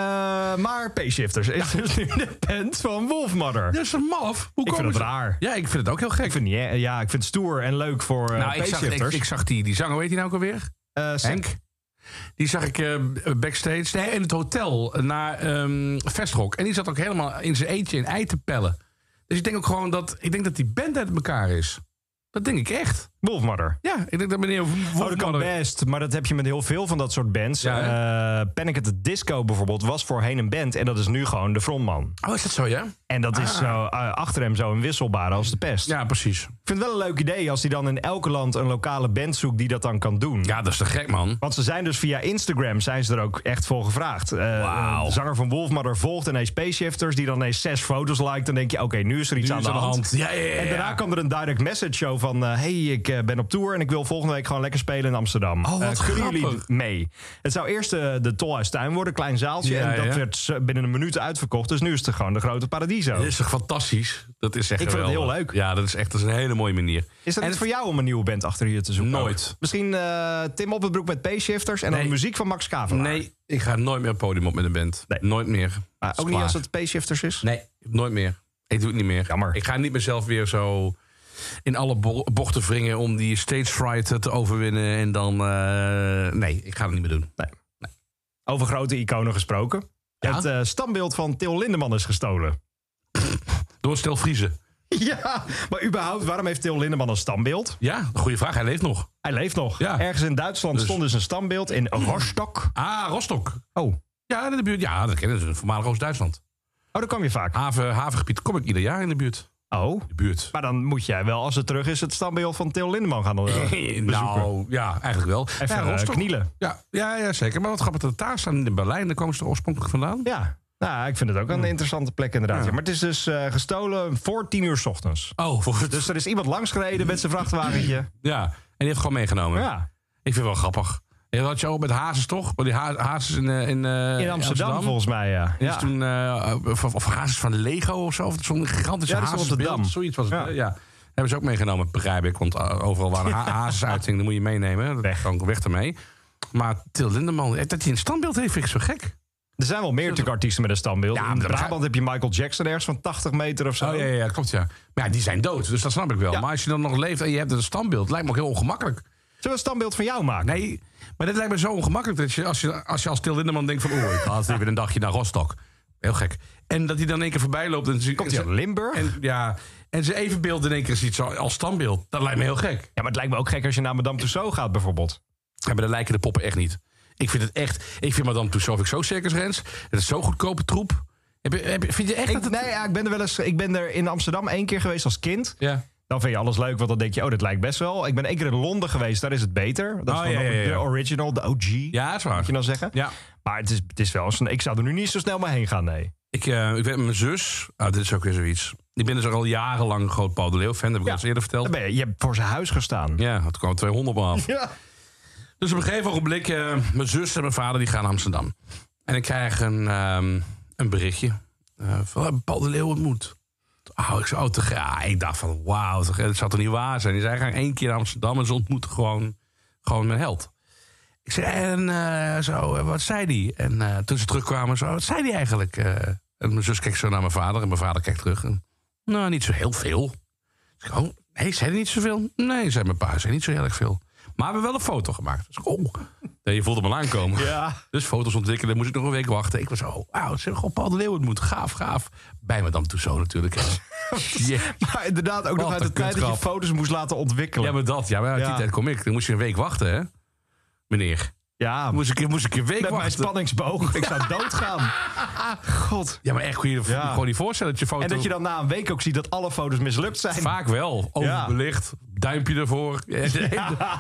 C: maar Payshifters is dus nu de band van Wolfmother.
B: Dat is een maf. Hoe
C: ik
B: komen
C: vind het
B: ze-
C: raar.
B: Ja, ik vind het ook heel gek.
C: Ik vind, ja, ja, ik vind het stoer en leuk voor eh
B: nou, ik zag, ik,
C: Payshifters.
B: ik zag die, die zanger, weet hij nou ook alweer?
C: Eh, Sam-
B: Henk. Die zag ik eh, backstage. Nee, in het hotel eh, na ehm Vestrock. En die zat ook helemaal in zijn eentje in ei te pellen. Dus ik denk ook gewoon dat, ik denk dat die band uit elkaar is. Dat denk ik echt.
C: Wolfmother.
B: Ja, ik denk dat meneer
C: Oh, dat kan
B: Wolfmother-
C: best, maar dat heb je met heel veel van dat soort bands.
B: Ja,
C: Eh, Panic at the Disco bijvoorbeeld was voorheen een band en dat is nu gewoon de frontman.
B: Oh, is dat zo, ja?
C: En dat is zo, eh, achter hem zo een wisselbare als de pest.
B: Ah. Ja, precies.
C: Ik vind het wel een leuk idee als hij dan in elk land een lokale band zoekt die dat dan kan doen.
B: Ja, dat is te gek, man.
C: Want ze zijn dus via Instagram zijn ze er ook echt voor gevraagd. Eh,
B: Wauw.
C: De zanger van Wolfmother volgt ineens Spaceshifters die dan ineens zes foto's liked. Dan denk je, oké, nu is er iets
B: Nu
C: aan,
B: is
C: de, hand.
B: Ja, ja, ja.
C: En daarna kwam er een direct message show van... eh, hey, ik eh, ben op tour en ik wil volgende week gewoon lekker spelen in Amsterdam.
B: Oh, wat
C: Eh, kunnen jullie
B: grappig.
C: mee? Het zou eerst eh, de Tolhuistuin worden, klein zaaltje.
B: Ja,
C: en dat
B: ja.
C: werd z- binnen een minuut uitverkocht. Dus nu is het gewoon de grote paradiso.
B: Dat is toch fantastisch? Dat is echt
C: Ik vind het
B: geweldig.
C: heel leuk.
B: Ja, dat is echt dat is een hele mooie manier.
C: Is dat
B: En
C: niet voor jou om een nieuwe band achter je te zoeken?
B: Nooit.
C: Ook? Misschien eh, Tim op het broek met P-shifters en dan
B: Nee.
C: muziek van Max Kavelaar.
B: Nee, ik ga nooit meer het podium op met een band.
C: Nee.
B: Nooit meer.
C: Ah,
B: Dat is
C: ook niet
B: klaar.
C: als het P-shifters is?
B: Nee, nooit meer. Ik doe het niet meer.
C: Jammer.
B: Ik ga niet mezelf weer zo in alle bo- bochten wringen om die stage fright eh, te overwinnen. En dan. eh, nee, ik ga het niet meer doen.
C: Over grote iconen gesproken.
B: Ja?
C: Het eh, standbeeld van Til Lindeman is gestolen.
B: Door stel vriezen.
C: Ja, maar überhaupt, waarom heeft Til Lindeman een standbeeld?
B: Ja, goede vraag. Hij leeft nog.
C: Hij leeft nog.
B: Ja.
C: Ergens in Duitsland
B: Dus-
C: stond dus een standbeeld in Rostock.
B: Ah, Rostock.
C: Oh. oh,
B: Ja, in de buurt. Ja, dat kennen ze. Voormalig Oost-Duitsland.
C: daar kwam je vaak.
B: Haven, havengebied kom ik ieder jaar in de buurt.
C: Oh,
B: de buurt.
C: maar dan moet jij wel, als het terug is, het standbeeld van Theo Lindeman gaan eh, bezoeken.
B: nou, ja, eigenlijk wel.
C: Even
B: ja,
C: eh,
B: Rostock.
C: knielen.
B: Ja, ja, ja, zeker. Maar wat grappig dat het daar staan in Berlijn. Daar komen ze er oorspronkelijk vandaan.
C: Ja, nou, ik vind het ook een interessante plek inderdaad.
B: Hmm. Ja.
C: Ja, Maar het is dus eh, gestolen voor tien uur 's ochtends.
B: Oh, voor het-
C: Dus er is iemand langsgereden met zijn vrachtwagentje.
B: ja. En die heeft gewoon meegenomen.
C: Ja,
B: Ik vind het wel grappig. En dat had je al met Hazes toch? Want die Ha- Hazes in, eh, in, eh,
C: in Amsterdam, volgens mij, ja.
B: Die
C: ja.
B: is toen, eh, of, of Hazes van Lego of zo. Of zo'n gigantische
C: Ja, die is op de
B: Hazesbeeld.
C: Dam.
B: Zoiets was het.
C: Ja.
B: Ja. ja. Hebben ze ook meegenomen, begrijp ik. Want eh, overal waar een ha Hazes uitging, dan moet je meenemen. Dat
C: Weg.
B: kan weg ermee. Maar Til Lindeman, eh, dat hij een standbeeld heeft, vind ik zo gek. Oh,
C: Er zijn wel meer natuurlijk artiesten met een standbeeld.
B: Ja,
C: in
B: maar-
C: Brabant heb je Michael Jackson ergens van 80 meter of zo.
B: Oh ja, ja, ja, klopt ja. Maar ja, die zijn dood, dus dat snap ik wel.
C: Ja.
B: Maar als je dan nog leeft en je hebt een standbeeld, lijkt me ook heel ongemakkelijk.
C: Zullen we een standbeeld van jou maken?
B: Nee, maar dit lijkt me zo ongemakkelijk dat je als, je, als, je als Til Lindeman denkt van... oeh, ik had even een dagje naar Rostock. Heel gek. En dat hij dan in één keer voorbij loopt en ze,
C: Komt hij
B: en
C: uit
B: ze-
C: Limburg?
B: en, ja, en zijn evenbeeld in één keer ziet zo als standbeeld. Dat lijkt me heel gek.
C: Ja, maar het lijkt me ook gek als je naar Madame Tussauds gaat bijvoorbeeld.
B: Ja, maar dat lijken de poppen echt niet. Ik vind het echt... Ik vind Madame Tussauds vind ik zo circusrens. Het is zo'n goedkope troep. Heb je, heb je- vind je echt dat
C: Ik,
B: het...
C: nee, ja, ik ben er wel eens. Ik ben er in Amsterdam één keer geweest als kind.
B: Ja.
C: Dan vind je alles leuk, want dan denk je, oh, dit lijkt best wel. Ik ben één keer in Londen geweest, daar is het beter. Dat is
B: Oh,
C: gewoon
B: ja, ja, ja.
C: de original, de OG.
B: ja, dat is
C: Moet
B: waar.
C: je dan zeggen?
B: Ja.
C: Maar het is, het is wel. eens een- Ik zou er nu niet zo snel mee heen gaan, nee.
B: Ik, eh, ik weet met mijn zus... Ah, dit is ook weer zoiets. Ik ben dus al jarenlang een groot Paul de Leeuw fan. Dat heb ik al eens eerder
C: Dan
B: verteld.
C: ben je, je hebt voor zijn huis gestaan.
B: Ja, had kwam 200 maar af.
C: Ja.
B: Dus op een gegeven ogenblik, eh, mijn zus en mijn vader die gaan naar Amsterdam. En ik krijg een, ehm, een berichtje eh, van eh, Paul de Leeuw ontmoet. Oh, ik, zei, oh, te ge- ja, ik dacht van wauw, te ge- dat zou toch niet waar zijn. Die zijn gaan één keer naar Amsterdam en ze ontmoeten gewoon, gewoon mijn held. Ik zei, en eh, zo, eh, wat zei die? En eh, toen ze terugkwamen, zo, wat zei die eigenlijk? Eh, en mijn zus kijkt zo naar mijn vader en mijn vader kijkt terug. En, nou, niet zo heel veel. Ik zei, oh, nee, zei hij niet zoveel? Nee, zei mijn pa, zei niet zo heel erg veel. Maar we hebben wel een foto gemaakt. Dus, ik, oh, nee, je voelde hem al aankomen.
C: Ja.
B: Dus foto's ontwikkelen, dan moest ik nog een week wachten. Ik was zo, oh, wauw, ze hebben gewoon Paul de Leeuw ontmoet. Gaaf, gaaf. Bij Madame Tussauds natuurlijk. Ja,
C: Maar inderdaad,
B: Wat
C: ook nog uit
B: een
C: de tijd dat je
B: kutgrap.
C: foto's moest laten ontwikkelen.
B: ja,
C: Ja,
B: maar dat. Ja, maar uit die
C: Ja.
B: tijd kom ik. Dan moest je een week wachten, hè? Meneer,
C: met
B: moest ik, moest ik een week
C: mijn
B: wachten.
C: spanningsboog. Ik zou doodgaan. God.
B: Ja, maar echt, kun je je
C: Ja.
B: gewoon niet voorstellen dat je foto...
C: En dat je dan na een week ook ziet dat alle foto's mislukt zijn.
B: Vaak wel.
C: Ja.
B: Overbelicht, duimpje ervoor.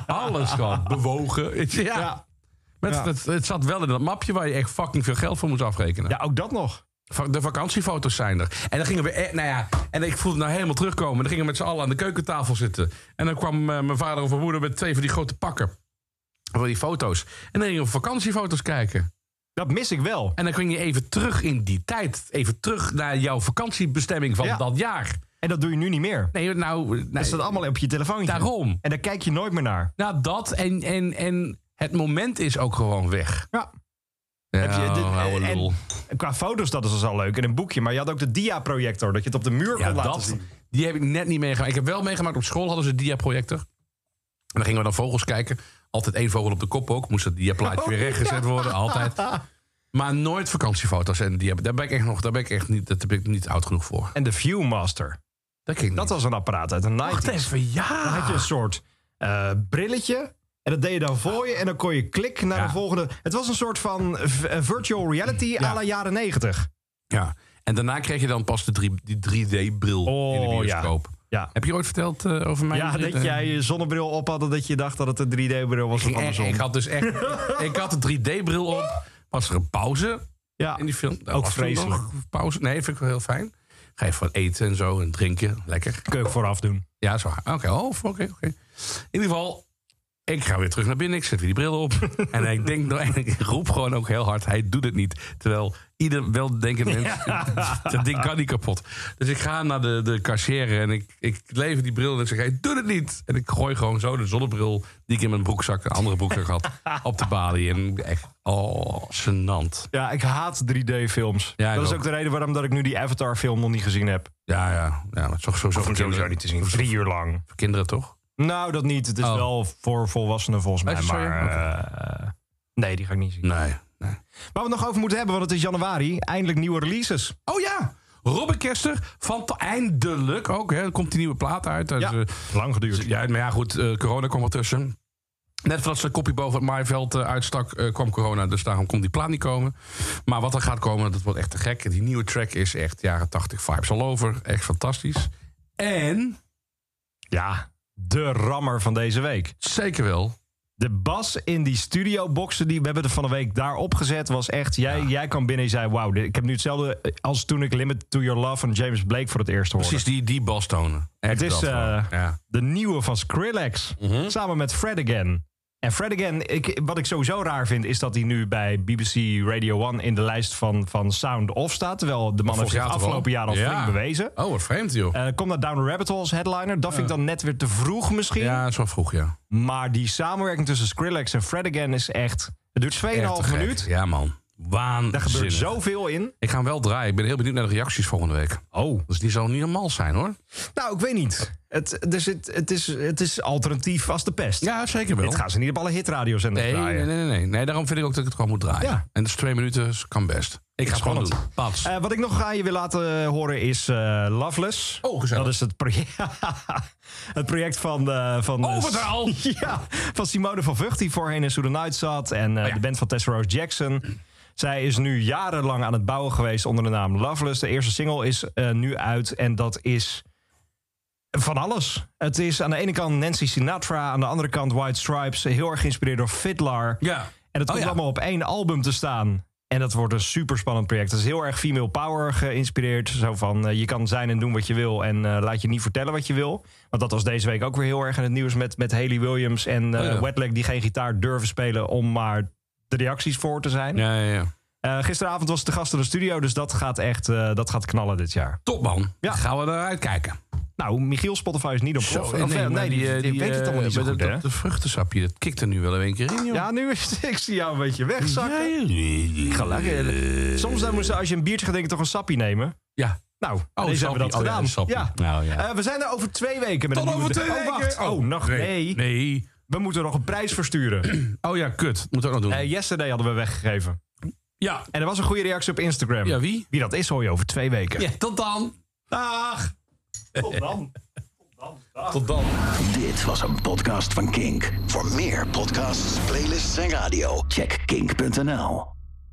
B: Alles gewoon. Bewogen. Ja.
C: Ja.
B: Maar het,
C: Ja.
B: het, het zat wel in dat mapje waar je echt fucking veel geld voor moest afrekenen.
C: ja, ook dat nog.
B: Va- De vakantiefoto's zijn er. En dan gingen we, e- nou ja, en ik voelde het nou helemaal terugkomen. Dan gingen we met z'n allen aan de keukentafel zitten. En dan kwam eh, mijn vader of mijn moeder met twee van die grote pakken. Voor die foto's. En dan gingen we vakantiefoto's kijken.
C: Dat mis ik wel.
B: En dan ging je even terug in die tijd. Even terug naar jouw vakantiebestemming van
C: Ja.
B: dat jaar.
C: En dat doe je nu niet meer.
B: Nee, nou, nee,
C: Dat staat allemaal op je telefoontje.
B: daarom.
C: En daar kijk je nooit meer naar.
B: Nou, dat en, en, en het moment is ook gewoon weg.
C: Ja.
B: Ja,
C: Heb je dit-
B: ouwe
C: en-
B: Oh, lul.
C: Qua foto's, dat is dus al leuk. En een boekje. Maar je had ook de dia-projector. Dat je het op de muur
B: Ja,
C: kon laten
B: dat,
C: zien.
B: die heb ik net niet meegemaakt. Ik heb wel meegemaakt, op school hadden ze diaprojector. En dan gingen we dan vogels kijken. Altijd één vogel op de kop ook. Moest dat diaplaatje weer rechtgezet worden, altijd. Maar nooit vakantiefoto's en dia. Daar ben ik echt nog, daar ben ik echt niet, daar ben ik niet oud genoeg voor.
C: En de Viewmaster.
B: Dat ging
C: Dat was een apparaat uit de 90s.
B: Wacht even, ja.
C: Dan had je een soort eh, brilletje. En dat deed je dan voor je. En dan kon je klik naar
B: Ja.
C: de volgende. Het was een soort van v- eh, virtual reality à la jaren 90.
B: ja. En daarna kreeg je dan pas de drie, die 3D-bril in de
C: Oh, ja.
B: bioscoop.
C: Ja.
B: Heb je ooit verteld eh, over mij?
C: Ja, dat jij je zonnebril op had en dat je dacht dat het een 3D-bril was of
B: eh, Ik,
C: andersom.
B: ik had dus echt... ik had de 3D-bril op. Was er een pauze?
C: ja.
B: in die film. Dat
C: Ook
B: was toen
C: vreselijk.
B: nog Pauze. Nee, vind ik wel heel fijn. Ga je van eten en zo en drinken. Lekker.
C: Kun je ook vooraf doen.
B: Ja, zo. Oké, oh, oké, oké. In ieder geval, ik ga weer terug naar binnen. Ik zet weer die bril op. en ik denk, nou, en ik roep gewoon ook heel hard, hij doet het niet. Terwijl ieder weldenkend mens, dat ding kan niet kapot. Dus ik ga naar de, de kassière en ik, ik lever die bril en ik zeg, hij doet het niet. En ik gooi gewoon zo de zonnebril die ik in mijn broekzak, een andere broekzak had, op de balie. En echt, oh, gênant.
C: Ja, ik haat 3D-films.
B: Ja, ik
C: dat is ook
B: ook.
C: de reden waarom dat ik nu die Avatar-film nog niet gezien heb.
B: Ja, ja. ja maar het is toch sowieso voor kinderen. Voor
C: Drie uur lang.
B: kinderen, toch?
C: Nou, dat niet. Het is
B: Oh.
C: wel voor volwassenen volgens mij.
B: Is het zo, ja?
C: Maar, eh, nee, die ga ik niet zien.
B: Nee.
C: Waar we het nog over moeten hebben, want het is januari. Eindelijk nieuwe releases.
B: Oh ja! Robin Kester, van te- eindelijk ook. Hè. Er komt die nieuwe plaat uit. Dus, eh,
C: lang geduurd.
B: ja, maar ja, goed, eh, corona kwam ertussen. Net voordat ze een kopje boven het maaiveld eh, uitstak, eh, kwam corona. Dus daarom kon die plaat niet komen. Maar wat er gaat komen, dat wordt echt te gek. Die nieuwe track is echt jaren 80 vibes all over. Echt fantastisch. En,
C: Ja, de rammer van deze week.
B: zeker wel,
C: De bas in die studioboxen die we hebben er van de week daar opgezet was echt... Jij, jij kwam binnen en je zei, wauw, dit- ik heb nu hetzelfde als toen ik Limit to Your Love van James Blake voor het eerst hoorde.
B: precies die, die bastonen. Echt
C: Het is,
B: dat gewoon.
C: eh,
B: ja.
C: De nieuwe van Skrillex.
B: Mhm.
C: Samen met Fred Again. En Fred Again, ik, wat ik sowieso raar vind, is dat hij nu bij BBC Radio 1 in de lijst van, van Sound Off staat. Terwijl de man heeft
B: Vorig
C: zich
B: jaar toch al?
C: afgelopen jaar al
B: Ja.
C: flink bewezen.
B: Oh, wat vreemd joh.
C: Eh komt naar Down the Rabbit Hole als headliner. Dat vind ik dan net weer te vroeg misschien.
B: Ja, dat is wel vroeg, ja.
C: Maar die samenwerking tussen Skrillex en Fred Again is echt... Het
B: Echt te
C: duurt 2,5
B: gek.
C: minuut.
B: Ja, man.
C: Daar
B: Waanzinnig.
C: gebeurt zoveel in.
B: Ik ga hem wel draaien. Ik ben heel benieuwd naar de reacties volgende week.
C: Oh.
B: Dus die zal niet normaal zijn, hoor.
C: Nou, ik weet niet. Het, dus het, het, is, het is alternatief als de pest.
B: Ja, zeker wel.
C: Dit gaan ze niet op alle hitradio's en
B: nee,
C: draaien.
B: nee, nee, nee, nee. Nee, daarom vind ik ook dat ik het gewoon moet draaien.
C: Ja.
B: En dat is twee minuten, dus kan best. Ik ga het gewoon doen.
C: Spannend.
B: Pas.
C: Eh, wat ik nog aan je wil laten horen is eh, Loveless.
B: Oh, gezellig.
C: Dat is het project, het project van... eh van
B: Oh,
C: eh,
B: Overal.
C: ja, van Simone van Vught, die voorheen in Soeden Night zat. En eh,
B: Oh, ja.
C: de band van Tessa Rose Jackson. Zij is nu jarenlang aan het bouwen geweest onder de naam Loveless. De eerste single is eh, nu uit en dat is van alles. Het is aan de ene kant Nancy Sinatra, aan de andere kant White Stripes. Heel erg geïnspireerd door Fiddler.
B: ja.
C: En het
B: Oh,
C: komt
B: ja.
C: allemaal op één album te staan. En dat wordt een super spannend project. Het is heel erg female power geïnspireerd. Zo van eh, je kan zijn en doen wat je wil. En eh, laat je niet vertellen wat je wil. Want dat was deze week ook weer heel erg in het nieuws met, met Haley Williams en eh
B: Oh, ja.
C: Wetlag die geen gitaar durven spelen om maar de reacties voor te zijn.
B: Ja, ja, ja.
C: Eh, gisteravond was het de gast in de studio, dus dat gaat echt eh, dat gaat knallen dit jaar.
B: Top, man.
C: Ja.
B: Gaan we eruit kijken.
C: Nou, Michiel Spotify is niet op prof. Of, eh,
B: maar
C: die,
B: eh,
C: die weet
B: eh,
C: het allemaal niet zo
B: met
C: goed,
B: dat-
C: hè?
B: dat vruchtensapje, dat kikt er nu wel in één keer in, joh.
C: Ja, nu is ik zie jou een beetje wegzakken.
B: Ga Eh.
C: lekker. Soms dan moet Nou, je, als je een biertje gaat drinken, toch een sappie nemen.
B: Ja. Oh,
C: Nou, deze
B: sappie.
C: hebben we dat
B: Oh, ja,
C: gedaan.
B: een sappie. Nou, ja.
C: Eh, we zijn er over twee weken met
B: Tot
C: een nieuwe
B: over twee
C: de-
B: weken.
C: oh, wacht. Oh, nog nee.
B: Nee.
C: We moeten nog een prijs versturen.
B: Oh ja, kut. Moet ook nog doen.
C: Eh yesterday hadden we weggegeven.
B: ja.
C: En er was een goede reactie op Instagram.
B: Ja, wie?
C: Wie dat is, hoor je over twee weken.
B: Ja, tot dan.
C: Dag! Tot dan.
B: Tot dan.
G: Dit was een podcast van Kink. Voor meer podcasts, playlists en radio, check kink.nl.